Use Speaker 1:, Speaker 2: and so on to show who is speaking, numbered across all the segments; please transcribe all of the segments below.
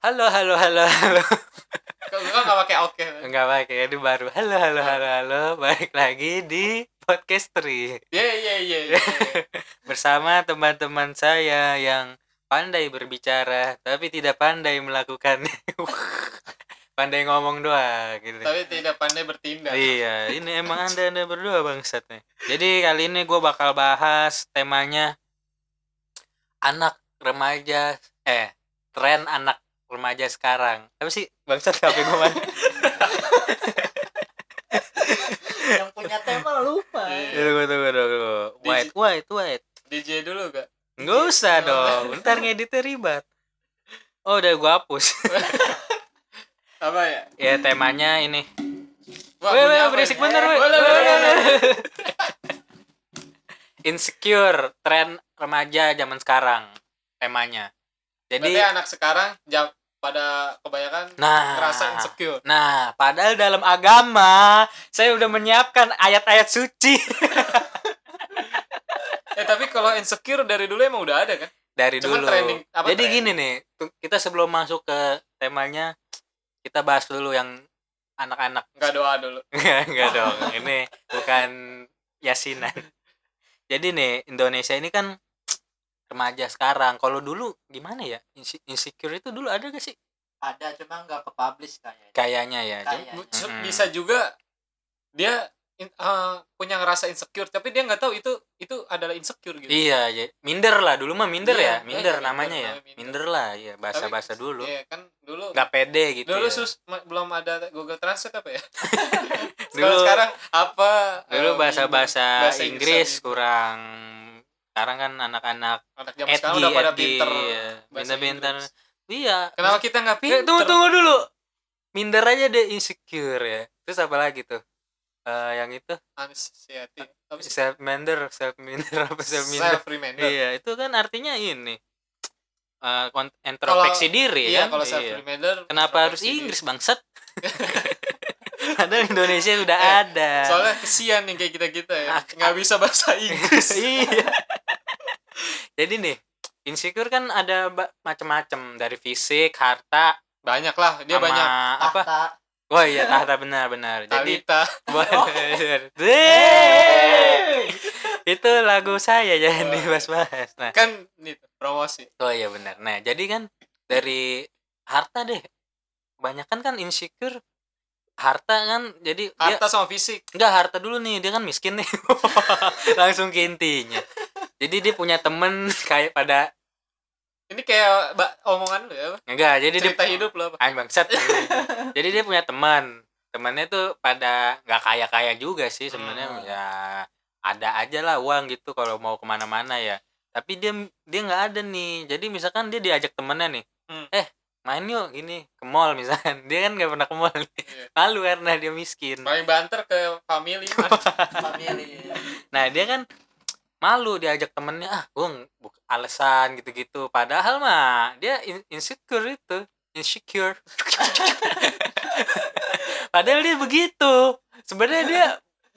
Speaker 1: halo halo halo halo
Speaker 2: Kalau gue nggak pakai ya? oke.
Speaker 1: nggak pakai ini baru halo halo halo halo balik lagi di podcast tri
Speaker 2: Iya iya iya. iya.
Speaker 1: bersama teman-teman saya yang pandai berbicara tapi tidak pandai melakukannya pandai ngomong doang gitu
Speaker 2: Tapi tidak pandai bertindak.
Speaker 1: iya ini emang anda anda berdua bangsat nih jadi kali ini gue bakal bahas temanya anak remaja eh tren anak remaja sekarang apa sih bangsat sampai gue mana
Speaker 3: yang punya tema lupa
Speaker 2: Iya.
Speaker 1: Tunggu, tunggu, tunggu. Wait, wait, wait.
Speaker 2: DJ dulu gak?
Speaker 1: Nggak usah dong. Ntar ngeditnya ribet. Oh, udah gua hapus.
Speaker 2: Apa ya?
Speaker 1: ya, temanya ini.
Speaker 2: Wah,
Speaker 1: Weh,
Speaker 2: punya
Speaker 1: weh,
Speaker 2: apa
Speaker 1: berisik
Speaker 2: ini?
Speaker 1: bener,
Speaker 2: Eh,
Speaker 1: weh.
Speaker 2: boleh,
Speaker 1: Weh,
Speaker 2: boleh,
Speaker 1: weh,
Speaker 2: boleh.
Speaker 1: weh. Insecure, tren remaja zaman sekarang. Temanya. Jadi,
Speaker 2: Berarti anak sekarang jam pada kebanyakan
Speaker 1: nah.
Speaker 2: ngerasa insecure.
Speaker 1: Nah, padahal dalam agama saya udah menyiapkan ayat-ayat suci
Speaker 2: Eh tapi kalau insecure dari dulu emang udah ada kan?
Speaker 1: dari
Speaker 2: Cuman
Speaker 1: dulu.
Speaker 2: trending- apa
Speaker 1: Jadi
Speaker 2: trending?
Speaker 1: gini nih, tu- kita sebelum masuk ke temanya kita bahas dulu yang anak-anak
Speaker 2: Nggak doa dulu.
Speaker 1: Enggak, enggak dong. Ini bukan yasinan. Jadi nih, Indonesia ini kan remaja sekarang. Kalau dulu gimana ya? Inse- Insecure itu dulu ada gak sih?
Speaker 3: ada cuma nggak ke publish kayaknya
Speaker 1: Kayaknya ya. Jadi-
Speaker 3: Kayaknya.
Speaker 2: Bu- se-
Speaker 1: Mm-mm.
Speaker 2: Bisa juga dia in- eh, punya ngerasa insecure tapi dia nggak tahu itu itu adalah insecure gitu.
Speaker 1: Iya, ya. minder lah. Dulu mah minder
Speaker 2: Iya,
Speaker 1: ya. Minder
Speaker 2: kayaknya
Speaker 1: namanya
Speaker 2: minder,
Speaker 1: ya.
Speaker 2: namanya minder.
Speaker 1: Minder lah, ya. Bahasa-bahasa
Speaker 2: Tapi-
Speaker 1: dulu.
Speaker 2: Iya kan dulu
Speaker 1: Nggak pede gitu
Speaker 2: dulu
Speaker 1: ya.
Speaker 2: sus ma- belum ada Google Translate apa ya
Speaker 1: Dulu,
Speaker 2: Kalau sekarang apa
Speaker 1: dulu
Speaker 2: eh,
Speaker 1: bahasa-bahasa
Speaker 2: bahasa
Speaker 1: Inggris
Speaker 2: Inggris. gitu.
Speaker 1: kurang. Sekarang kan anak-anak
Speaker 2: anak zaman sekarang
Speaker 1: edgy,
Speaker 2: udah pada
Speaker 1: edgy,
Speaker 2: pinter
Speaker 1: iya.
Speaker 2: bahasa
Speaker 1: Pinter-pinter.
Speaker 2: Inggris.
Speaker 1: Iya.
Speaker 2: kenapa kita nggak pinter
Speaker 1: Eh, tunggu tunggu dulu. Minder aja deh insecure ya. Terus apa lagi tuh? Eh, yang itu
Speaker 2: Anxiety. Apa sih?
Speaker 1: self minder, self minder apa self minder?
Speaker 2: self remainder
Speaker 1: Iya, itu kan artinya ini. Eh kont- introspeksi diri
Speaker 2: iya
Speaker 1: kan.
Speaker 2: kalau self
Speaker 1: Iya.
Speaker 2: remainder
Speaker 1: Kenapa harus
Speaker 2: introspeksi
Speaker 1: Inggris
Speaker 2: diri.
Speaker 1: bangset? Padahal Indonesia sudah
Speaker 2: Eh,
Speaker 1: ada.
Speaker 2: soalnya kesian nih kayak kita kita ya
Speaker 1: Ah,
Speaker 2: nggak bisa bahasa Inggris
Speaker 1: iya. Jadi nih, insecure kan ada ba- macam-macam dari fisik, harta,
Speaker 2: banyak lah dia
Speaker 1: sama
Speaker 2: banyak Ah.
Speaker 1: apa?
Speaker 3: Tahta.
Speaker 1: Wah iya tahta benar-benar. Jadi
Speaker 2: Talita Oh.
Speaker 1: Bener.
Speaker 3: Hey!
Speaker 1: itu lagu saya jangan
Speaker 2: Oh.
Speaker 1: dibahas-bahas. Nah,
Speaker 2: kan nih promosi
Speaker 1: oh iya benar. Nah, jadi kan dari harta deh. Kebanyakan kan insecure harta kan jadi dia
Speaker 2: harta sama fisik
Speaker 1: enggak harta dulu nih, dia kan miskin nih. Langsung ke intinya. Jadi dia punya temen kayak pada
Speaker 2: ini kayak ba- omongan lu ya apa?
Speaker 1: enggak, jadi
Speaker 2: cerita
Speaker 1: dia
Speaker 2: hidup lo apa
Speaker 1: Ay, bangsat. Jadi dia punya teman. Temannya tuh pada nggak kaya-kaya juga sih sebenarnya
Speaker 2: Hmm.
Speaker 1: ya ada aja lah uang gitu kalau mau kemana-mana ya. Tapi dia dia nggak ada nih. Jadi misalkan dia diajak temennya nih,
Speaker 2: Hmm.
Speaker 1: eh main yuk gini ke mall misalkan. Dia kan nggak pernah ke mall. nih.
Speaker 2: Iya.
Speaker 1: Malu karena dia miskin.
Speaker 2: paling banter ke family man.
Speaker 3: family
Speaker 1: Nah dia kan malu diajak temennya ah gue alasan gitu-gitu padahal mah dia in- insecure itu insecure padahal dia begitu sebenarnya dia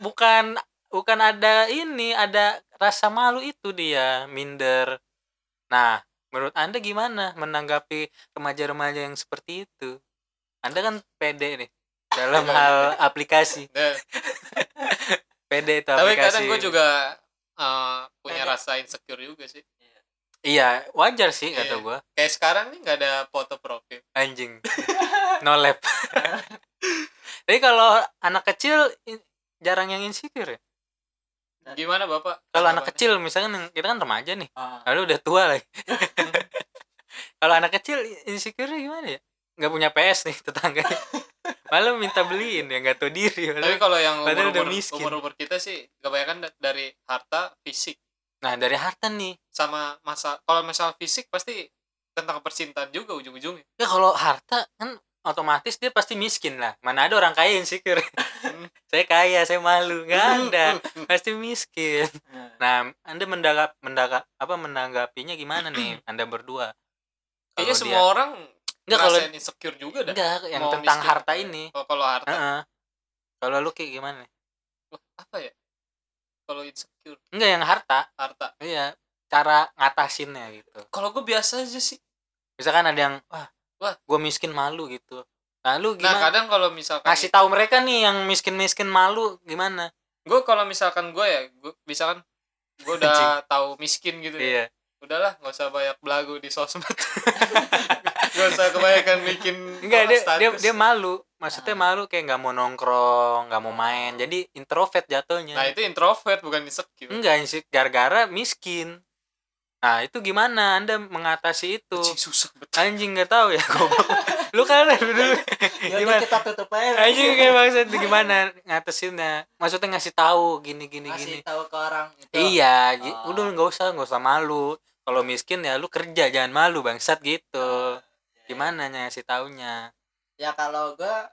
Speaker 1: bukan bukan ada ini ada rasa malu itu dia minder nah menurut anda gimana menanggapi remaja-remaja yang seperti itu anda kan pede nih
Speaker 2: Iya.
Speaker 1: dalam hal aplikasi
Speaker 2: Nah,
Speaker 1: pede itu
Speaker 2: tapi
Speaker 1: aplikasi
Speaker 2: kadang gue juga eh, punya
Speaker 3: Kadang-
Speaker 2: rasa insecure juga sih
Speaker 1: Iya, wajar sih
Speaker 2: Iya.
Speaker 1: kata gua.
Speaker 2: kayak sekarang nih nggak ada foto profil
Speaker 1: Anjing. no lab. Tapi kalau anak kecil in- jarang yang insecure ya.
Speaker 2: gimana bapak
Speaker 1: Kalau
Speaker 2: Tanggapannya?
Speaker 1: anak kecil misalkan yang- kita kan remaja nih,
Speaker 3: Ah,
Speaker 1: lalu udah tua lagi. kalau anak kecil insecure gimana ya? Nggak punya PS nih tetangganya. Malah minta beliin ya nggak tahu diri. padahal.
Speaker 2: tapi kalau yang
Speaker 1: padahal
Speaker 2: umur
Speaker 1: udah
Speaker 2: umur,
Speaker 1: miskin.
Speaker 2: umur umur kita sih kebanyakan da- dari harta fisik
Speaker 1: Nah, dari harta nih.
Speaker 2: sama masa kalau masalah fisik pasti tentang percintaan juga ujung ujungnya
Speaker 1: Ya kalau harta kan otomatis dia pasti miskin lah. Mana ada orang kaya insecure.
Speaker 2: Hmm.
Speaker 1: saya kaya, saya malu. Nggak ada. Pasti miskin.
Speaker 2: Hmm.
Speaker 3: eh,
Speaker 1: Nah, Anda mendanggap mendanggap apa menanggapinya gimana nih Anda berdua?
Speaker 2: kayaknya
Speaker 1: Kalau
Speaker 2: semua
Speaker 1: dia-
Speaker 2: orang
Speaker 1: enggak kalau
Speaker 2: ngerasain insecure juga dah
Speaker 1: enggak yang
Speaker 2: mau
Speaker 1: tentang
Speaker 2: miskin.
Speaker 1: harta ini.
Speaker 2: kalau kalau harta
Speaker 1: Heeh. Kalau lu kayak gimana? nih?
Speaker 2: wah, apa ya kalau insecure
Speaker 1: Enggak yang harta,
Speaker 2: harta
Speaker 1: iya cara ngatasinnya gitu.
Speaker 2: kalau gue biasa aja sih
Speaker 1: Misalkan ada yang wah
Speaker 2: Wah.
Speaker 1: gue miskin malu gitu nah lu
Speaker 2: nah
Speaker 1: gimana
Speaker 2: kadang kalau misalkan
Speaker 1: kasih tahu mereka nih yang miskin miskin malu gimana
Speaker 2: gue kalau misalkan gue ya gue misalkan gue udah tahu miskin gitu ya
Speaker 1: iya
Speaker 2: udahlah nggak usah banyak belagu di sosmed nggak usah kebanyakan bikin
Speaker 1: enggak dia, dia
Speaker 2: status.
Speaker 1: dia malu maksudnya malu kayak nggak mau nongkrong nggak mau main jadi introvert jatuhnya
Speaker 2: nah itu introvert bukan insecure
Speaker 1: enggak sih gara-gara miskin nah itu gimana anda mengatasi itu
Speaker 2: Anjing, susah betul
Speaker 1: anjing nggak tahu ya goblok lu kan lu dulu
Speaker 3: Yaudah
Speaker 1: gimana
Speaker 3: kita tutup aja.
Speaker 1: anjing kayak maksud gimana ngatasinnya maksudnya ngasih tahu gini gini gini
Speaker 3: Kasih tahu ke orang itu.
Speaker 1: iya ji-
Speaker 3: Oh.
Speaker 1: udah nggak usah nggak usah malu kalau miskin ya lu kerja jangan malu bangsat gitu gimana ngasih taunya
Speaker 3: Ya kalau gua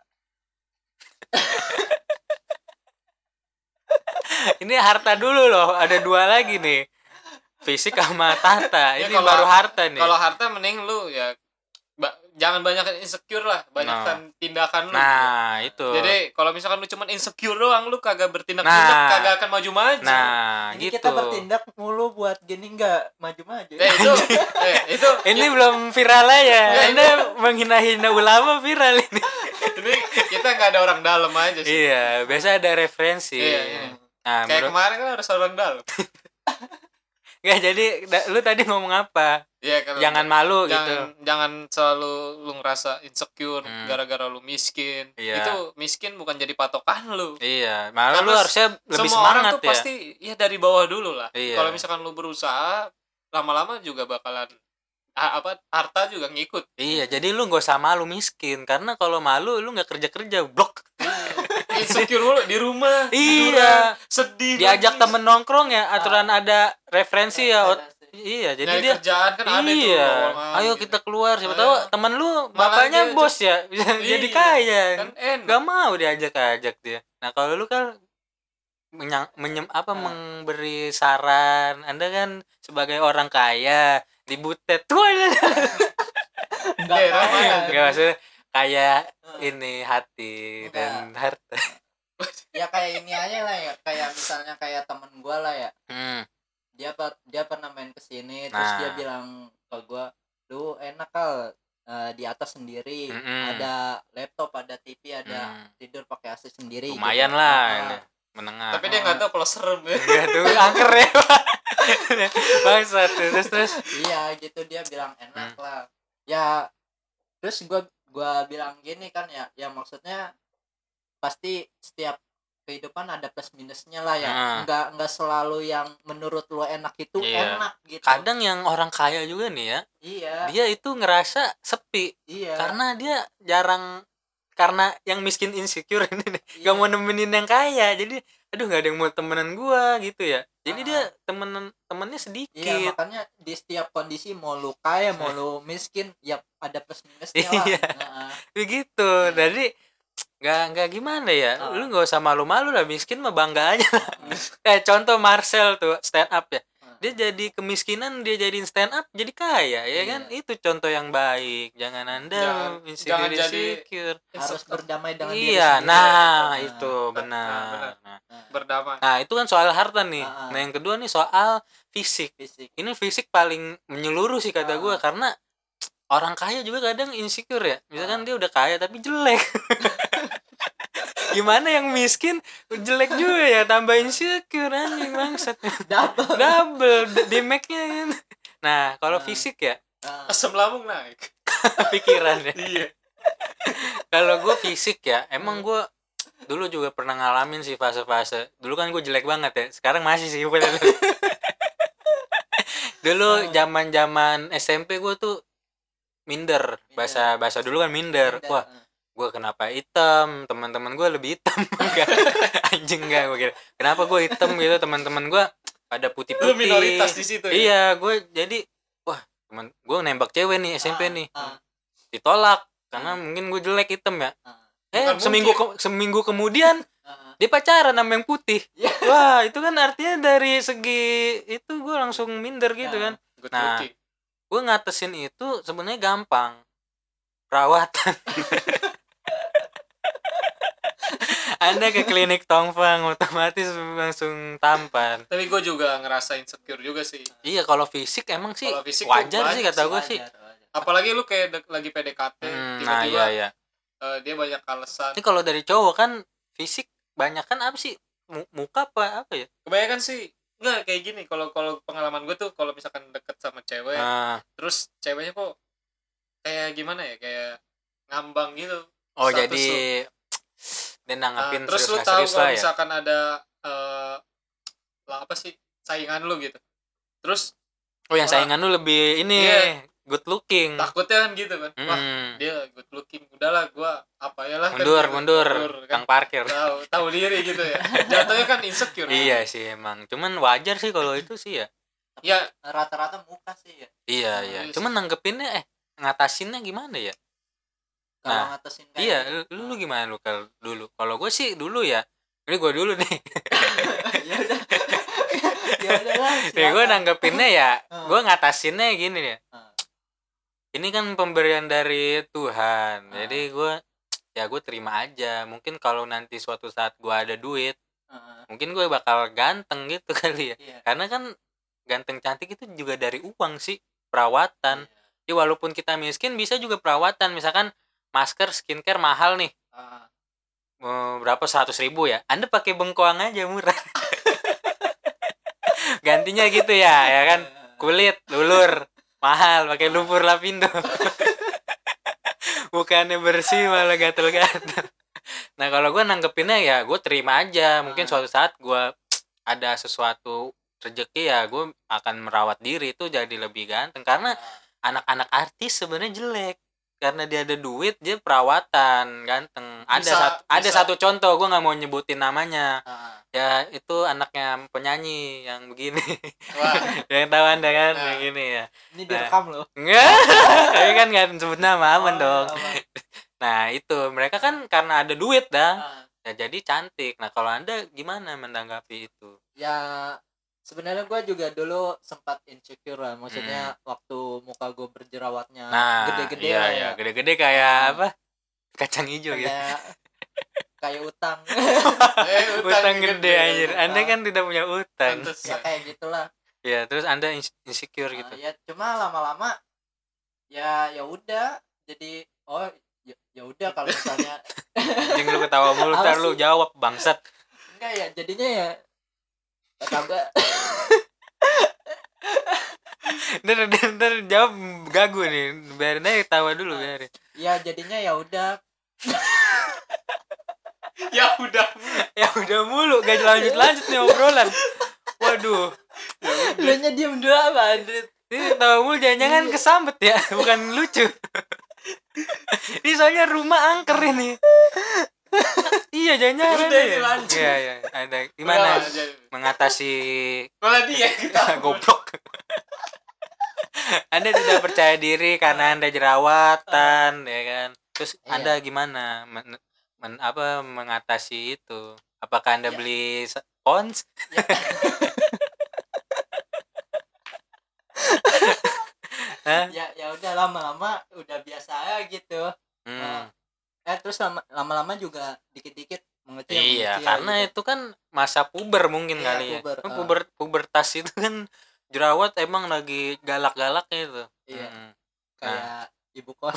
Speaker 1: ini harta dulu loh ada dua lagi nih fisik sama tata
Speaker 2: Ya,
Speaker 1: ini
Speaker 2: kalau-
Speaker 1: baru harta nih
Speaker 2: kalau harta mending lu ya ba- jangan banyakin insecure lah banyakkan tindakan lu
Speaker 1: nah itu
Speaker 2: jadi kalau misalkan lu cuman insecure doang lu kagak bertindak
Speaker 1: Nah.
Speaker 2: kagak akan maju-maju
Speaker 1: nah
Speaker 3: ini
Speaker 1: gitu
Speaker 3: kita bertindak mulu buat gini nggak maju-maju.
Speaker 2: Eh, itu eh, itu
Speaker 1: ini belum viral aja
Speaker 2: Nggak,
Speaker 1: anda menghina-hina ulama viral ini
Speaker 2: ini kita nggak ada orang dalam aja Iya, sih
Speaker 1: iya biasa ada referensi
Speaker 2: Iya, iya.
Speaker 1: nah
Speaker 2: kayak
Speaker 1: menurut-
Speaker 2: kemarin kan harus orang dalam
Speaker 1: nggak jadi da- lu tadi ngomong apa
Speaker 2: Iya, kalau-
Speaker 1: jangan malu gitu
Speaker 2: jangan jangan selalu lu ngerasa insecure
Speaker 1: Hmm.
Speaker 2: gara-gara lu miskin
Speaker 1: Iya.
Speaker 2: itu miskin bukan jadi patokan lu
Speaker 1: iya malah lu
Speaker 2: Karena
Speaker 1: harusnya lebih
Speaker 2: semua orang
Speaker 1: semangat
Speaker 2: tuh
Speaker 1: ya
Speaker 2: pasti ya dari bawah dulu lah
Speaker 1: Iya.
Speaker 2: kalau misalkan lu berusaha lama-lama juga bakalan a- apa harta juga ngikut
Speaker 1: iya jadi lu nggak usah malu miskin karena kalau malu lu nggak kerja kerja blok
Speaker 2: insecure mulu di rumah tiduran,
Speaker 1: Iya.
Speaker 2: sedih
Speaker 1: diajak
Speaker 2: nangis.
Speaker 1: temen nongkrong ya aturan
Speaker 2: Ah.
Speaker 1: ada referensi ya ot-
Speaker 3: Referensi.
Speaker 1: iya jadi
Speaker 2: Nyari
Speaker 1: dia
Speaker 2: kerjaan kan ada itu
Speaker 1: iya
Speaker 2: lowongan
Speaker 1: ayo
Speaker 2: gitu.
Speaker 1: kita keluar siapa
Speaker 2: Ayo.
Speaker 1: tahu temen lu
Speaker 2: Malah
Speaker 1: bapaknya
Speaker 2: dia-
Speaker 1: bos ya bisa jadi
Speaker 2: Iya,
Speaker 1: kaya
Speaker 2: kan enak
Speaker 1: nggak mau diajak ajak dia nah kalau lu kan menyang- menyem-
Speaker 2: Ah.
Speaker 1: apa
Speaker 3: Nah.
Speaker 1: memberi saran anda kan sebagai orang kaya dibutet tuh
Speaker 3: Nggak
Speaker 2: Iya,
Speaker 3: tahu
Speaker 2: iya.
Speaker 3: lah.
Speaker 1: nggak maksudnya kayak
Speaker 3: Nah,
Speaker 1: ini hati dan harta
Speaker 3: Ya kayak ini aja lah ya. Kayak misalnya kayak temen gua lah ya.
Speaker 1: Hmm,
Speaker 3: Dia per- dia pernah main kesini terus
Speaker 1: Nah.
Speaker 3: dia bilang ke gua, "Lu enak kal eh, di atas sendiri.
Speaker 1: Mm-mm.
Speaker 3: Ada laptop, ada TV, ada
Speaker 1: hmm.
Speaker 3: tidur pakai AC sendiri."
Speaker 1: lumayan
Speaker 3: gitu.
Speaker 1: lah
Speaker 3: Ah,
Speaker 1: ini, menengah
Speaker 2: Iya. tapi dia nggak tahu kalau serem ya
Speaker 1: Iya tuh angker ya Pak. Bangsat tuh. terus terus.
Speaker 3: iya gitu dia bilang enak
Speaker 1: Hmm.
Speaker 3: lah ya terus gua gua bilang gini kan ya ya maksudnya pasti setiap kehidupan ada plus minusnya lah ya
Speaker 1: Nah.
Speaker 3: nggak nggak selalu yang menurut lo enak itu
Speaker 1: Iya.
Speaker 3: enak gitu
Speaker 1: Kadang yang orang kaya juga nih ya,
Speaker 3: iya
Speaker 1: dia itu ngerasa sepi
Speaker 3: iya
Speaker 1: karena dia jarang karena yang miskin insecure ini nih,
Speaker 3: iya.
Speaker 1: gak mau nemenin yang kaya. Jadi aduh nggak ada yang mau temenan gua gitu ya. Jadi
Speaker 3: Ah.
Speaker 1: dia temenan temennya
Speaker 3: Iya,
Speaker 1: sedikit.
Speaker 3: makanya di setiap kondisi mau lu kaya mau lu miskin ya ada plus minusnya lah
Speaker 1: Iya.
Speaker 3: Nah,
Speaker 1: Begitu. Jadi nggak nggak gimana ya
Speaker 3: Ah.
Speaker 1: lu nggak usah malu-malu lah miskin mah bangga aja eh contoh Marcel tuh stand up ya dia jadi kemiskinan dia jadiin stand up jadi kaya ya
Speaker 3: Iya.
Speaker 1: kan itu contoh yang baik jangan anda
Speaker 2: Jangan-
Speaker 1: insecure
Speaker 2: jangan jadi
Speaker 1: insecure
Speaker 3: harus berdamai dengan diri
Speaker 1: iya
Speaker 3: sendiri.
Speaker 1: nah
Speaker 3: Nah,
Speaker 1: itu benar
Speaker 2: benar.
Speaker 1: Nah,
Speaker 2: berdamai
Speaker 1: nah itu kan soal harta nih
Speaker 3: Ah, ah.
Speaker 1: nah yang kedua nih soal fisik
Speaker 3: fisik
Speaker 1: ini fisik paling menyeluruh sih kata
Speaker 3: Ah.
Speaker 1: gua karena orang kaya juga kadang insecure ya misalkan dia udah kaya tapi jelek gimana yang miskin jelek juga ya tambah insecure anjing bangsat
Speaker 3: double
Speaker 1: double damage-nya kan. Nah, kalau
Speaker 3: Nah.
Speaker 1: fisik ya
Speaker 3: Nah,
Speaker 2: asam lambung naik
Speaker 1: pikiran ya.
Speaker 2: iya
Speaker 1: Kalau gue fisik ya, emang gue dulu juga pernah ngalamin sih fase-fase. Dulu kan gue jelek banget ya. Sekarang masih sih. padahal. dulu zaman-zaman SMP gue tuh minder. Bahasa bahasa dulu kan minder.
Speaker 3: beda. Ah,
Speaker 1: Wah, gue kenapa hitam teman-teman gue lebih hitam enggak anjing enggak gue kira kenapa gue hitam gitu teman-teman gue pada
Speaker 2: lu
Speaker 1: putih-putih
Speaker 2: minoritas di situ ya?
Speaker 1: iya gue jadi wah teman gue nembak cewek nih SMP
Speaker 3: Ah,
Speaker 1: nih
Speaker 3: ah,
Speaker 1: ditolak karena mungkin gue jelek hitam ya
Speaker 3: ah.
Speaker 1: eh
Speaker 2: Bukan
Speaker 1: seminggu ke- seminggu kemudian
Speaker 3: Heeh.
Speaker 1: dia pacaran sama yang putih
Speaker 2: Iya.
Speaker 3: Ya.
Speaker 1: wah itu kan artinya dari segi itu gue langsung minder gitu kan
Speaker 3: Ya.
Speaker 2: Good
Speaker 1: Nah.
Speaker 2: looking.
Speaker 1: gue ngatasin itu sebenarnya gampang perawatan anda ke klinik tongfang otomatis langsung tampan
Speaker 2: tapi gue juga ngerasa insecure juga sih
Speaker 1: iya kalau fisik emang sih
Speaker 2: Kalau fisik tuh
Speaker 1: wajar sih
Speaker 2: banyak
Speaker 1: kata gue sih
Speaker 3: Wajar, wajar.
Speaker 2: apalagi lu kayak de- lagi PDKT
Speaker 1: Hmm, nah
Speaker 2: tiba-tiba
Speaker 1: iya iya
Speaker 2: eh, dia banyak alasan
Speaker 1: ini kalau dari cowok kan fisik banyak kan apa sih Mu- muka apa apa ya
Speaker 2: kebanyakan sih nggak kayak gini kalau kalau pengalaman gue tuh kalau misalkan deket sama cewek
Speaker 1: Ah.
Speaker 2: terus ceweknya kok kayak gimana ya kayak ngambang gitu
Speaker 1: oh
Speaker 2: status
Speaker 1: jadi
Speaker 2: lu.
Speaker 1: dia
Speaker 2: Nah,
Speaker 1: nanggapin
Speaker 2: terus lu
Speaker 1: serius
Speaker 2: tahu
Speaker 1: serius
Speaker 2: kalau
Speaker 1: lah ya
Speaker 2: misalkan ada eh, lah apa sih saingan lu gitu terus
Speaker 1: oh yang
Speaker 2: orang-
Speaker 1: saingan lu lebih ini
Speaker 2: Iya.
Speaker 1: good looking
Speaker 2: takutnya kan gitu kan wah
Speaker 1: Mm.
Speaker 2: dia good looking udahlah gua apa ya lah
Speaker 1: mundur
Speaker 2: kan, gitu.
Speaker 1: mundur
Speaker 2: kan
Speaker 1: kang parkir
Speaker 2: tahu tahu diri gitu ya jatuhnya kan insecure
Speaker 1: iya sih emang cuman wajar sih kalau itu sih ya
Speaker 2: ya
Speaker 3: rata-rata muka sih ya
Speaker 1: iya
Speaker 2: Nah,
Speaker 1: iya
Speaker 2: iya
Speaker 1: cuman nanggepinnya eh ngatasinnya gimana ya
Speaker 3: kalau
Speaker 1: Nah,
Speaker 3: ngatasin kayak
Speaker 1: iya
Speaker 3: gitu.
Speaker 1: lu, lu gimana lu kalau dulu kalau gue sih dulu ya ini gue dulu nih
Speaker 3: ya udah ya udah lah
Speaker 1: nih gue
Speaker 3: silakan.
Speaker 1: nanggepinnya ya
Speaker 3: Hmm.
Speaker 1: gue ngatasinnya gini ya
Speaker 3: Hmm.
Speaker 1: ini kan pemberian dari Tuhan
Speaker 3: Hmm.
Speaker 1: jadi gue ya gue terima aja mungkin kalau nanti suatu saat gue ada duit
Speaker 3: Heeh,
Speaker 1: mungkin gue bakal ganteng gitu kali ya
Speaker 3: Ah, iya
Speaker 1: karena kan ganteng cantik itu juga dari uang sih perawatan ya
Speaker 3: iya.
Speaker 1: walaupun kita miskin bisa juga perawatan misalkan masker skincare mahal nih
Speaker 3: Ah,
Speaker 1: Eh, berapa seratus ribu ya anda pakai bengkoang aja murah gantinya gitu ya ya kan
Speaker 3: iya.
Speaker 1: kulit lulur mahal pakai lumpur lapindo bukannya bersih malah gatel-gatel nah kalau gue nanggepinnya ya gue terima aja mungkin
Speaker 2: Hmm.
Speaker 3: Ah.
Speaker 1: suatu saat gue ada sesuatu rezeki ya gue akan merawat diri itu jadi lebih ganteng karena anak-anak artis sebenarnya jelek karena dia ada duit dia perawatan ganteng ada
Speaker 2: Bisa,
Speaker 1: satu ada
Speaker 2: bisa.
Speaker 1: satu contoh gue nggak mau nyebutin namanya
Speaker 3: Ah,
Speaker 1: ya itu anaknya penyanyi yang begini
Speaker 2: wah
Speaker 1: yang tahu anda kan
Speaker 2: Nah.
Speaker 1: yang gini ya
Speaker 3: ini direkam loh
Speaker 1: Enggak, tapi kan nggak sebut nama aman
Speaker 3: Oh,
Speaker 1: dong.
Speaker 3: aman.
Speaker 1: Nah itu mereka kan karena ada duit dah,
Speaker 3: Ah,
Speaker 1: ya jadi cantik. Nah kalau anda gimana menanggapi itu?
Speaker 3: ya sebenarnya gue juga dulu sempat insecure lah maksudnya waktu muka gue berjerawatnya
Speaker 1: Hmm. Nah,
Speaker 3: gede-gede
Speaker 1: iya,
Speaker 3: lah
Speaker 1: iya,
Speaker 3: ya
Speaker 1: gede-gede kayak
Speaker 3: Hmm.
Speaker 1: apa? Kacang hijau ya.
Speaker 3: kayak kayak utang
Speaker 2: eh,
Speaker 1: Utang gede anjir.
Speaker 3: utang.
Speaker 1: Anda kan tidak punya utang.
Speaker 3: ya
Speaker 2: Pantesan.
Speaker 3: kayak gitulah
Speaker 1: Ya terus anda ins- insecure
Speaker 3: Ah,
Speaker 1: gitu.
Speaker 3: ya cuma lama-lama ya ya udah jadi oh ya ya udah kalau misalnya
Speaker 1: Anjing lu ketawa mulu,
Speaker 3: Apa
Speaker 1: ntar
Speaker 3: sih?
Speaker 1: lu jawab bangsat.
Speaker 3: enggak ya jadinya ya kata gue
Speaker 1: Ntar, ntar, ntar jawab gagu nih. Biarin aja ketawa dulu biarin.
Speaker 3: ya jadinya ya udah
Speaker 2: ya udah
Speaker 1: Ya udah mulu, gak lanjut lanjut nih obrolan. Waduh.
Speaker 3: lu nya diem dulu apa Andrit
Speaker 1: Ini tahu mulu jangan-jangan
Speaker 2: Iya.
Speaker 1: kesambet ya, bukan lucu. ini soalnya rumah angker ini. iya, jangan-jangan.
Speaker 2: Udah,
Speaker 1: ada
Speaker 2: ini
Speaker 1: ya.
Speaker 2: lanjut.
Speaker 1: Iya, iya. Ada gimana
Speaker 2: Udah, jadi.
Speaker 1: mengatasi
Speaker 2: malah dia kita
Speaker 1: goblok? anda tidak percaya diri karena Anda jerawatan, ya kan? Terus
Speaker 3: Iya.
Speaker 1: Anda gimana men- men- apa mengatasi itu? Apakah Anda
Speaker 3: Iya.
Speaker 1: beli se- pons?
Speaker 3: ya,
Speaker 1: Hah?
Speaker 3: ya ya udah lama-lama udah biasa aja gitu
Speaker 2: Oh.
Speaker 1: Hmm.
Speaker 3: eh terus lama- lama-lama juga dikit-dikit mengecil
Speaker 1: Iya,
Speaker 3: mengecil
Speaker 1: karena
Speaker 3: gitu.
Speaker 1: itu kan masa puber mungkin
Speaker 3: Iya,
Speaker 1: kali ya.
Speaker 3: puber,
Speaker 1: Kan
Speaker 3: ah.
Speaker 1: puber pubertas itu kan jerawat emang lagi galak-galaknya itu.
Speaker 3: Iya,
Speaker 1: Mm.
Speaker 3: kayak ibu kos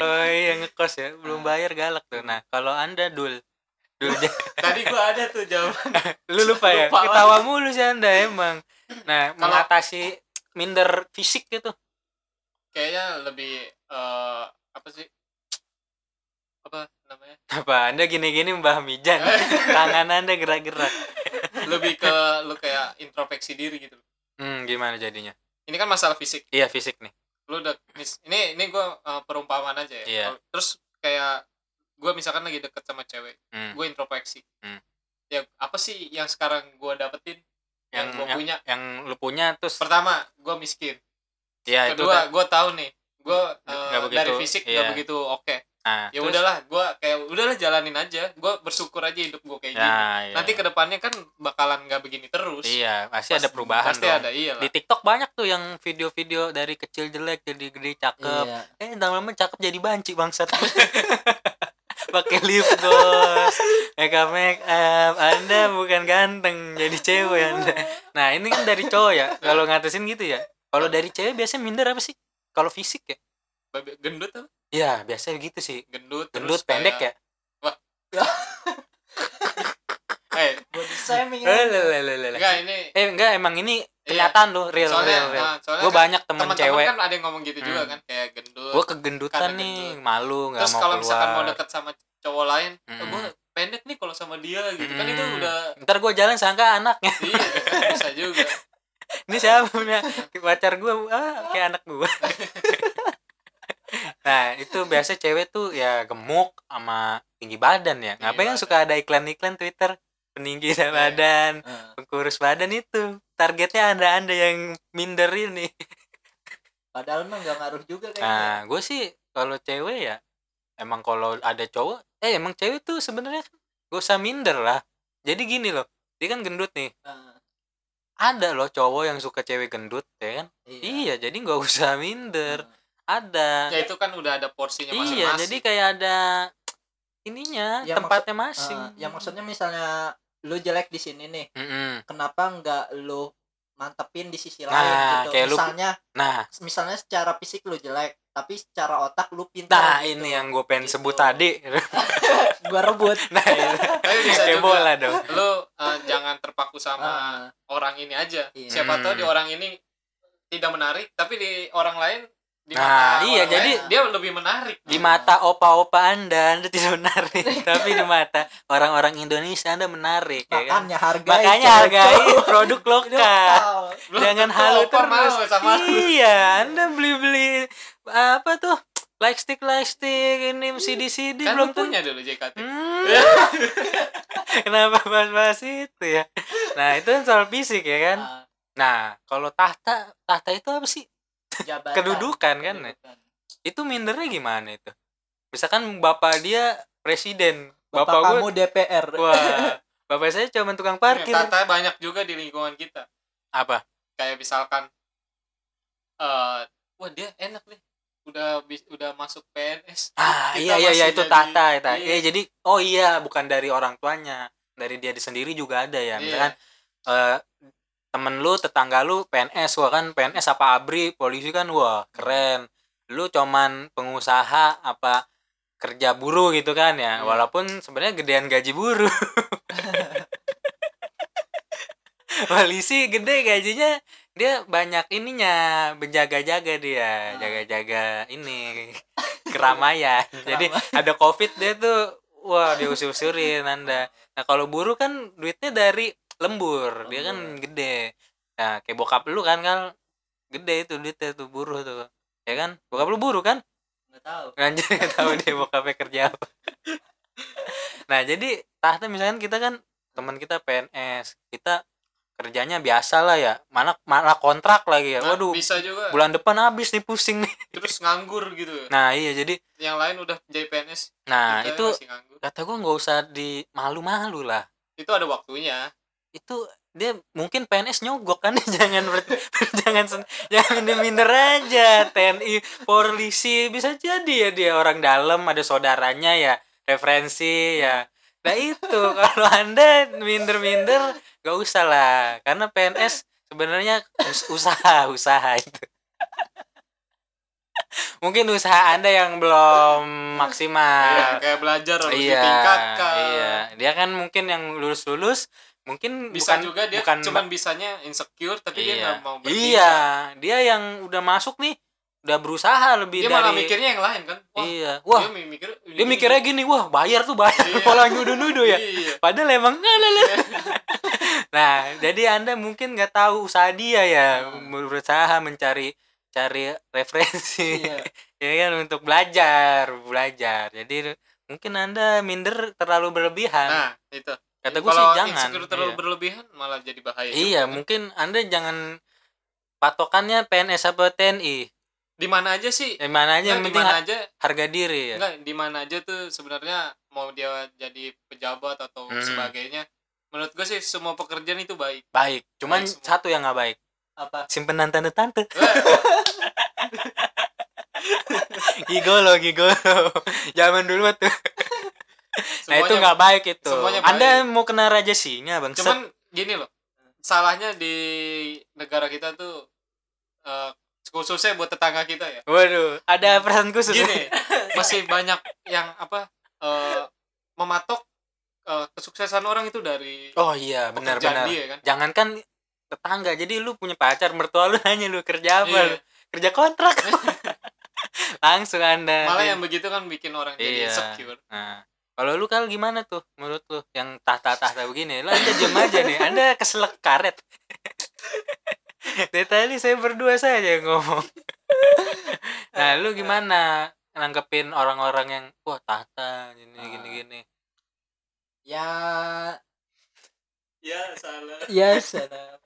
Speaker 1: Oh iya ngekos ya, belum
Speaker 3: Ah.
Speaker 1: bayar galak tuh. Nah, kalau Anda dul dul ja-
Speaker 2: tadi gua ada tuh jawaban
Speaker 1: lu lupa ya.
Speaker 2: Lupa
Speaker 1: Ketawa mulu sih Anda emang. Nah,
Speaker 2: Kalau-
Speaker 1: mengatasi minder fisik gitu.
Speaker 2: kayaknya lebih eh, apa sih apa namanya
Speaker 1: Apa Anda gini-gini Mbah Mijan, tangan Anda gerak-gerak.
Speaker 2: lebih ke lu kayak introspeksi diri gitu
Speaker 1: Hmm, gimana jadinya?
Speaker 2: ini kan masalah fisik
Speaker 1: Iya, fisik nih.
Speaker 2: lu udah mis- ini ini gua eh, perumpamaan aja ya
Speaker 1: Iya.
Speaker 2: Kalau- terus kayak gua misalkan lagi deket sama cewek
Speaker 1: Hmm.
Speaker 2: gue introspeksi
Speaker 1: Hmm.
Speaker 2: ya apa sih yang sekarang gua dapetin
Speaker 1: Yang
Speaker 2: yang, Ya, gua
Speaker 1: yang,
Speaker 2: punya
Speaker 1: yang lu punya terus
Speaker 2: pertama gua miskin
Speaker 1: ya itu
Speaker 2: kedua gua tahu nih gua
Speaker 1: Nggak-
Speaker 2: eh,
Speaker 1: nggak begitu,
Speaker 2: dari fisik nggak
Speaker 1: iya.
Speaker 2: begitu oke
Speaker 1: Nah,
Speaker 2: ya
Speaker 1: terus-
Speaker 2: udahlah gua kayak udahlah jalanin aja gua bersyukur aja hidup gua kayak gini
Speaker 1: Nah, iya.
Speaker 2: nanti kedepannya kan bakalan nggak begini terus
Speaker 1: Iya, pasti
Speaker 2: Pas-
Speaker 1: ada perubahan
Speaker 2: pasti
Speaker 1: dong.
Speaker 2: ada iya
Speaker 1: Di TikTok banyak tuh yang video-video dari kecil jelek jadi gede cakep.
Speaker 3: iya
Speaker 1: Eh, lama-lama cakep jadi banci bangsat. Pakai lip gloss, makeup make up. Anda bukan ganteng, jadi cewek Anda. Nah, ini kan dari cowok ya. Kalau ngatasin gitu ya. Kalau dari cewek biasanya minder apa sih? kalau fisik ya
Speaker 2: Babe- gendut apa?
Speaker 1: ya biasanya gitu sih
Speaker 2: Gendut.
Speaker 1: gendut pendek ya ya?
Speaker 2: Eh,
Speaker 3: body shaming
Speaker 1: eh lelelelele.
Speaker 2: enggak ini
Speaker 1: eh enggak emang ini
Speaker 2: iya.
Speaker 1: kelihatan loh real
Speaker 2: soalnya,
Speaker 1: real real
Speaker 2: nah, soalnya
Speaker 1: gue
Speaker 2: kan
Speaker 1: banyak temen
Speaker 2: teman-teman
Speaker 1: cewek
Speaker 2: kan ada yang ngomong gitu juga
Speaker 1: Hmm.
Speaker 2: kan kayak gendut.
Speaker 1: gue kegendutan
Speaker 2: Karena
Speaker 1: nih
Speaker 2: gendut.
Speaker 1: malu nggak
Speaker 2: Terus
Speaker 1: mau
Speaker 2: kalau misalkan mau
Speaker 1: keluar
Speaker 2: deket sama cowok lain, oh, gue
Speaker 1: Mm.
Speaker 2: pendek nih kalau sama dia gitu kan itu
Speaker 1: Mm.
Speaker 2: udah
Speaker 1: ntar gue jalan sangka anaknya
Speaker 2: iya bisa juga.
Speaker 1: ini siapa punya pacar gue ah, kayak anak gue nah itu biasa cewek tuh ya gemuk sama tinggi badan ya
Speaker 2: Tinggi
Speaker 1: ngapain kan
Speaker 2: badan.
Speaker 1: suka ada iklan-iklan twitter peninggi
Speaker 2: Iya.
Speaker 1: badan
Speaker 3: Eh,
Speaker 1: pengurus badan itu targetnya anda anda yang minder ini
Speaker 3: padahal mah nggak ngaruh juga kayaknya
Speaker 1: nah gue sih kalau cewek ya emang kalau ada cowok eh emang cewek tuh sebenarnya kan gak usah minder lah jadi gini loh dia kan gendut nih
Speaker 3: Nah,
Speaker 1: ada loh cowok yang suka cewek gendut ya kan iya jadi nggak usah minder
Speaker 3: Nah,
Speaker 1: ada
Speaker 2: Ya itu kan udah ada porsinya masing-masing.
Speaker 1: iya jadi kayak ada ininya
Speaker 3: Ya,
Speaker 1: tempatnya masing
Speaker 3: eh, yang maksudnya misalnya lu jelek di sini nih
Speaker 1: Mm-mm.
Speaker 3: kenapa nggak lu mantepin di sisi
Speaker 1: Nah,
Speaker 3: lain
Speaker 1: kayak
Speaker 3: gitu
Speaker 1: lu-
Speaker 3: misalnya
Speaker 1: nah
Speaker 3: misalnya secara fisik lu jelek tapi secara otak lu pintar
Speaker 1: nah
Speaker 3: gitu.
Speaker 1: ini yang gue pengen
Speaker 3: Gitu.
Speaker 1: sebut tadi
Speaker 3: gua rebut
Speaker 1: nah ini.
Speaker 2: Tapi bisa
Speaker 1: kayak
Speaker 2: juga.
Speaker 1: bola dong
Speaker 2: Lu eh, jangan terpaku sama
Speaker 3: Ah,
Speaker 2: orang ini aja.
Speaker 3: Iya.
Speaker 2: Siapa tahu
Speaker 1: Hmm.
Speaker 2: di orang ini tidak menarik, tapi di orang lain di
Speaker 1: Nah,
Speaker 2: mata
Speaker 1: iya,
Speaker 2: orang
Speaker 1: jadi-
Speaker 2: lain, dia lebih menarik.
Speaker 1: di mata opa-opa anda anda tidak menarik tapi di mata orang-orang Indonesia anda menarik ya kan?
Speaker 3: makanya hargai
Speaker 1: makanya
Speaker 3: cowok.
Speaker 1: hargai Nah, produk lokal
Speaker 3: Lokal.
Speaker 2: Belum
Speaker 1: jangan
Speaker 2: tentu
Speaker 1: halu
Speaker 2: opa mau
Speaker 1: terus
Speaker 2: sama lu.
Speaker 1: iya anda beli beli apa tuh lightstick lightstick ini CD CD
Speaker 2: Kan
Speaker 1: belum
Speaker 2: lu
Speaker 1: tentu
Speaker 2: punya dulu JKT.
Speaker 1: Hmm. kenapa bahas-bahas itu ya nah itu kan soal fisik ya kan
Speaker 3: Ah,
Speaker 1: nah kalau tahta tahta itu apa sih
Speaker 3: jabatan.
Speaker 1: kedudukan kan ya?
Speaker 3: Kedudukan.
Speaker 1: itu mindernya gimana itu misalkan bapak dia presiden bapak,
Speaker 3: bapak,
Speaker 1: gue
Speaker 3: kamu DPR
Speaker 1: wah bapak saya cuma tukang parkir
Speaker 2: Tata banyak juga di lingkungan kita.
Speaker 1: apa
Speaker 2: Kayak misalkan eh wah dia enak nih. Udah bis- udah masuk PNS.
Speaker 1: ah
Speaker 2: Kita
Speaker 1: iya iya iya
Speaker 2: masih
Speaker 1: itu
Speaker 2: jadi-
Speaker 1: tata tata ya
Speaker 2: iya.
Speaker 1: jadi oh iya bukan dari orang tuanya dari dia sendiri juga ada ya
Speaker 2: Iya.
Speaker 1: misalkan eh, temen lu tetangga lu PNS wah kan PNS apa abri polisi kan wah keren lu cuman pengusaha apa kerja buruh gitu kan ya
Speaker 2: Iya.
Speaker 1: walaupun sebenarnya gedean gaji buruh polisi gede gajinya dia banyak ininya menjaga-jaga dia
Speaker 3: Ah.
Speaker 1: jaga-jaga ini keramaian jadi
Speaker 3: Keramaian.
Speaker 1: ada covid dia tuh wah dia usir-usirin anda nah kalau buruh kan duitnya dari lembur dia kan
Speaker 3: Lembur.
Speaker 1: gede nah kayak bokap lu kan kan gede itu duitnya tuh buruh tuh ya kan bokap lu buruh kan
Speaker 3: nggak tahu
Speaker 1: Anjir nggak tahu deh bokapnya kerja apa. nah jadi tahta misalkan kita kan teman kita PNS kita kerjanya biasa lah ya mana malah kontrak lagi ya
Speaker 2: Nah,
Speaker 1: waduh
Speaker 2: bisa juga
Speaker 1: bulan depan habis nih pusing nih
Speaker 2: terus nganggur gitu.
Speaker 1: nah iya jadi
Speaker 2: Yang lain udah jadi PNS,
Speaker 1: nah
Speaker 2: kita
Speaker 1: itu
Speaker 2: masih nganggur.
Speaker 1: kata gua nggak usah di malu malu lah
Speaker 2: Itu ada waktunya.
Speaker 1: itu dia mungkin PNS nyogok kan jangan ber- jangan sen- jangan diminder aja TNI polisi bisa jadi ya dia orang dalam ada saudaranya ya referensi ya nah itu kalau anda minder minder gak usah lah karena PNS sebenarnya us- usaha usaha itu mungkin usaha anda yang belum
Speaker 2: Iya,
Speaker 1: maksimal
Speaker 2: kayak belajar harus
Speaker 1: Ah, iya,
Speaker 2: ditingkatkan.
Speaker 1: Iya, dia kan mungkin yang lulus-lulus mungkin
Speaker 2: Bisa
Speaker 1: bukan
Speaker 2: juga dia
Speaker 1: bukan
Speaker 2: cuman bisanya insecure tapi dia
Speaker 1: iya.
Speaker 2: nggak mau bertindak.
Speaker 1: Iya, dia yang udah masuk nih udah berusaha lebih
Speaker 2: Dia
Speaker 1: dari
Speaker 2: malah mikirnya yang lain kan. Wah,
Speaker 1: Iya. Wah,
Speaker 2: dia mi- mikir
Speaker 1: dia, mikirnya gini, wah bayar tuh bayar
Speaker 2: Iya.
Speaker 1: pola nudu-nudu ya.
Speaker 2: Iya.
Speaker 1: Padahal emang Nah, jadi Anda mungkin nggak tahu usaha dia
Speaker 2: Iya.
Speaker 1: ya
Speaker 3: Hmm.
Speaker 1: berusaha mencari cari referensi
Speaker 3: Iya.
Speaker 1: ya kan untuk belajar, belajar. Jadi mungkin Anda minder terlalu berlebihan.
Speaker 2: Nah, itu.
Speaker 1: Kata gue sih
Speaker 2: Kalau
Speaker 1: jangan.
Speaker 2: insecure terlalu
Speaker 1: iya.
Speaker 2: berlebihan malah jadi bahaya.
Speaker 1: Iya,
Speaker 2: juga.
Speaker 1: mungkin Anda jangan patokannya PNS apa TNI.
Speaker 2: Di mana aja sih?
Speaker 1: Yang mana aja yang
Speaker 2: Enggak, di
Speaker 1: penting
Speaker 2: mana
Speaker 1: har-
Speaker 2: aja?
Speaker 1: harga diri ya.
Speaker 2: Enggak, di mana aja tuh sebenarnya mau dia jadi pejabat atau
Speaker 1: Hmm.
Speaker 2: sebagainya. Menurut gue sih semua pekerjaan itu baik.
Speaker 1: Baik, cuman
Speaker 2: Baik semua.
Speaker 1: satu yang nggak baik.
Speaker 3: apa
Speaker 1: Simpenan tante-tante.
Speaker 2: Eh,
Speaker 1: gigolo, gigolo. Zaman dulu mah tuh. Nah, itu
Speaker 2: semuanya-
Speaker 1: nggak baik itu.
Speaker 2: semuanya
Speaker 1: Anda mau kena raja singa, Bang.
Speaker 2: cuman gini loh salahnya di negara kita tuh eh, khususnya buat tetangga kita ya
Speaker 1: Waduh, ada perasaan khusus.
Speaker 2: gini masih banyak yang apa eh, mematok eh, kesuksesan orang itu dari
Speaker 1: Oh iya,
Speaker 2: pekerjaan
Speaker 1: benar-benar.
Speaker 2: dia kan
Speaker 1: Jangankan tetangga, jadi lu punya pacar, mertua lu nanya lu kerja apa?
Speaker 2: Iya.
Speaker 1: lu? Kerja kontrak. Langsung Anda.
Speaker 2: malah yang begitu kan bikin orang jadi
Speaker 1: Iya.
Speaker 2: insecure
Speaker 1: Nah, kalau lu kalau gimana tuh menurut lu yang tahta-tahta begini? Lu Anda diam aja nih, Anda keselak karet. Dari tadi saya berdua saja yang ngomong. nah, lu gimana nanggepin orang-orang yang wah tahta gini
Speaker 3: Ah.
Speaker 1: gini gini.
Speaker 3: ya
Speaker 2: ya salah
Speaker 3: ya salah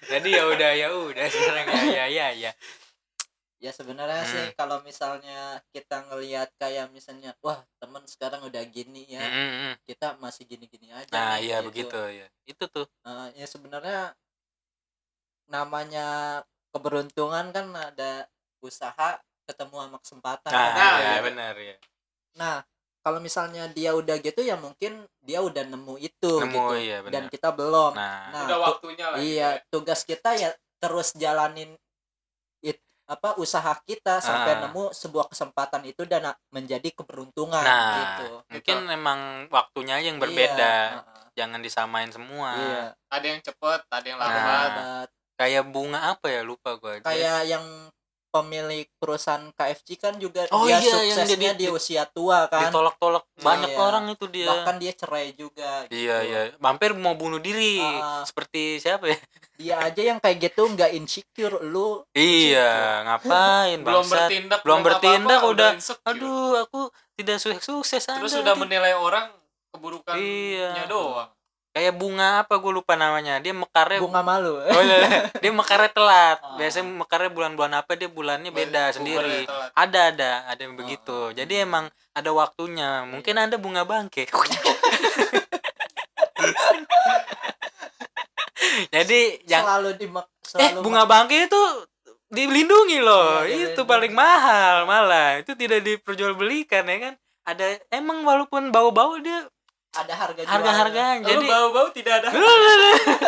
Speaker 1: Jadi ya udah ya udah sekarang ya ya ya ya.
Speaker 3: ya sebenarnya sih
Speaker 1: Hmm.
Speaker 3: kalau misalnya kita ngelihat kayak misalnya wah temen sekarang udah gini ya
Speaker 1: Mm, mm, mm.
Speaker 3: kita masih gini-gini aja
Speaker 1: Nah,
Speaker 3: nih,
Speaker 1: iya
Speaker 3: gitu.
Speaker 1: begitu ya. Itu tuh.
Speaker 3: Eh, ya sebenarnya namanya keberuntungan kan ada usaha ketemu sama kesempatan
Speaker 1: Nah,
Speaker 3: Nah,
Speaker 1: iya,
Speaker 2: iya.
Speaker 1: benar ya.
Speaker 3: nah kalau misalnya dia udah gitu ya mungkin dia udah nemu itu
Speaker 1: Nemu
Speaker 3: gitu
Speaker 1: iya
Speaker 3: dan
Speaker 1: benar.
Speaker 3: kita belum
Speaker 1: Nah,
Speaker 3: Nah,
Speaker 2: udah
Speaker 3: tu-
Speaker 2: waktunya lah gitu
Speaker 3: iya
Speaker 2: ya.
Speaker 3: tugas kita ya terus jalanin it, apa usaha kita sampai
Speaker 1: Ah.
Speaker 3: nemu sebuah kesempatan itu dan a- menjadi keberuntungan
Speaker 1: Nah,
Speaker 3: gitu
Speaker 1: mungkin memang waktunya aja yang berbeda.
Speaker 3: Iya, heeh.
Speaker 1: Jangan disamain semua.
Speaker 3: iya
Speaker 2: ada yang cepet ada yang
Speaker 1: Nah.
Speaker 2: lambat
Speaker 3: Obat.
Speaker 1: kayak bunga apa ya lupa gue
Speaker 3: kayak yang pemilik perusahaan KFC kan juga
Speaker 1: Oh
Speaker 3: dia
Speaker 1: iya, yang
Speaker 3: suksesnya
Speaker 1: dia
Speaker 3: di,
Speaker 1: di-
Speaker 3: usia tua kan
Speaker 1: ditolak-tolak banyak
Speaker 3: Iya.
Speaker 1: orang itu dia
Speaker 3: bahkan dia cerai juga
Speaker 1: iya
Speaker 3: gitu.
Speaker 1: iya mampir mau bunuh diri
Speaker 3: Ah.
Speaker 1: seperti siapa ya
Speaker 3: dia aja yang kayak gitu nggak insecure lu
Speaker 1: iya ngapain
Speaker 2: belum
Speaker 1: bangsat
Speaker 2: bertindak
Speaker 1: Belum bertindak,
Speaker 2: apa-apa,
Speaker 1: udah-
Speaker 2: insecure.
Speaker 1: aduh aku tidak sukses sukses
Speaker 2: terus
Speaker 1: Anda
Speaker 2: udah
Speaker 1: nanti.
Speaker 2: menilai orang keburukannya
Speaker 1: Iya.
Speaker 2: doang
Speaker 1: kayak bunga apa gue lupa namanya dia mekarnya
Speaker 3: bunga malu
Speaker 1: Oh, iya, iya. dia mekarnya telat
Speaker 3: Ah.
Speaker 1: biasanya mekarnya bulan-bulan apa dia bulannya beda
Speaker 2: Bulan-
Speaker 1: sendiri
Speaker 2: bulan telat.
Speaker 1: ada ada ada yang
Speaker 3: Oh, hmm.
Speaker 1: begitu jadi emang ada waktunya
Speaker 3: Iya,
Speaker 1: mungkin anda bunga bangke jadi jangan
Speaker 3: selalu di mak-
Speaker 1: eh
Speaker 3: selalu
Speaker 1: bunga bangke itu dilindungi loh
Speaker 3: Iya,
Speaker 1: itu
Speaker 3: dilindungi.
Speaker 1: paling mahal malah itu tidak diperjualbelikan ya kan ada emang walaupun bau-bau dia
Speaker 3: ada harga
Speaker 1: harga harganya
Speaker 2: Lalu
Speaker 1: jadi
Speaker 2: bau-bau tidak ada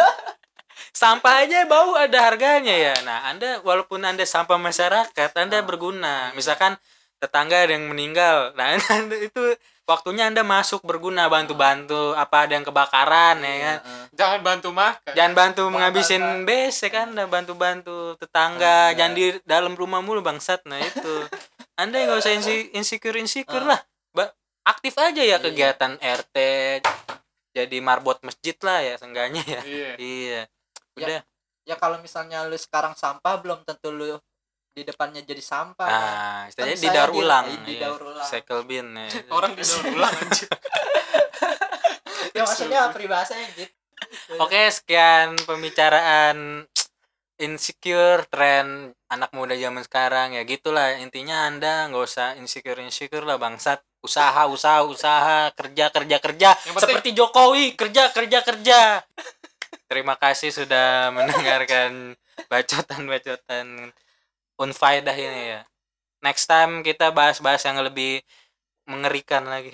Speaker 1: sampah aja bau ada harganya ya nah anda walaupun anda sampah masyarakat anda
Speaker 3: Ah.
Speaker 1: berguna misalkan tetangga ada yang meninggal nah Anda- itu waktunya anda masuk berguna bantu bantu apa ada yang kebakaran ya
Speaker 3: Iya,
Speaker 1: kan
Speaker 2: jangan bantu makan
Speaker 1: jangan bantu
Speaker 3: Bang,
Speaker 1: menghabisin
Speaker 3: bang,
Speaker 1: besek anda bantu bantu tetangga
Speaker 3: Tetangga.
Speaker 1: jangan di dalam rumah mulu bangsat nah itu anda nggak usah insi- insecure insecure lah
Speaker 3: Ah.
Speaker 1: Ba- aktif aja ya
Speaker 3: Iya.
Speaker 1: kegiatan rt jadi marbot masjid lah ya seenggaknya ya
Speaker 2: iya
Speaker 1: iya
Speaker 3: Ya,
Speaker 1: udah
Speaker 3: ya kalau misalnya lu sekarang sampah belum tentu lu di depannya jadi sampah kan?
Speaker 1: nah istilahnya
Speaker 3: misalnya
Speaker 1: didaur
Speaker 3: di-
Speaker 1: ulang
Speaker 3: eh,
Speaker 1: iya.
Speaker 3: didaur ulang.
Speaker 1: cycle bin ya.
Speaker 2: orang di dalam ulang anjir.
Speaker 3: ya maksudnya peribahasanya gitu
Speaker 1: oke sekian pembicaraan insecure tren anak muda zaman sekarang ya gitulah intinya anda nggak usah insecure insecure lah bangsat usaha usaha usaha kerja kerja kerja
Speaker 2: Yang penting-
Speaker 1: seperti Jokowi kerja kerja kerja terima kasih sudah mendengarkan bacotan bacotan unfaedah ini ya next time kita bahas bahas yang lebih mengerikan lagi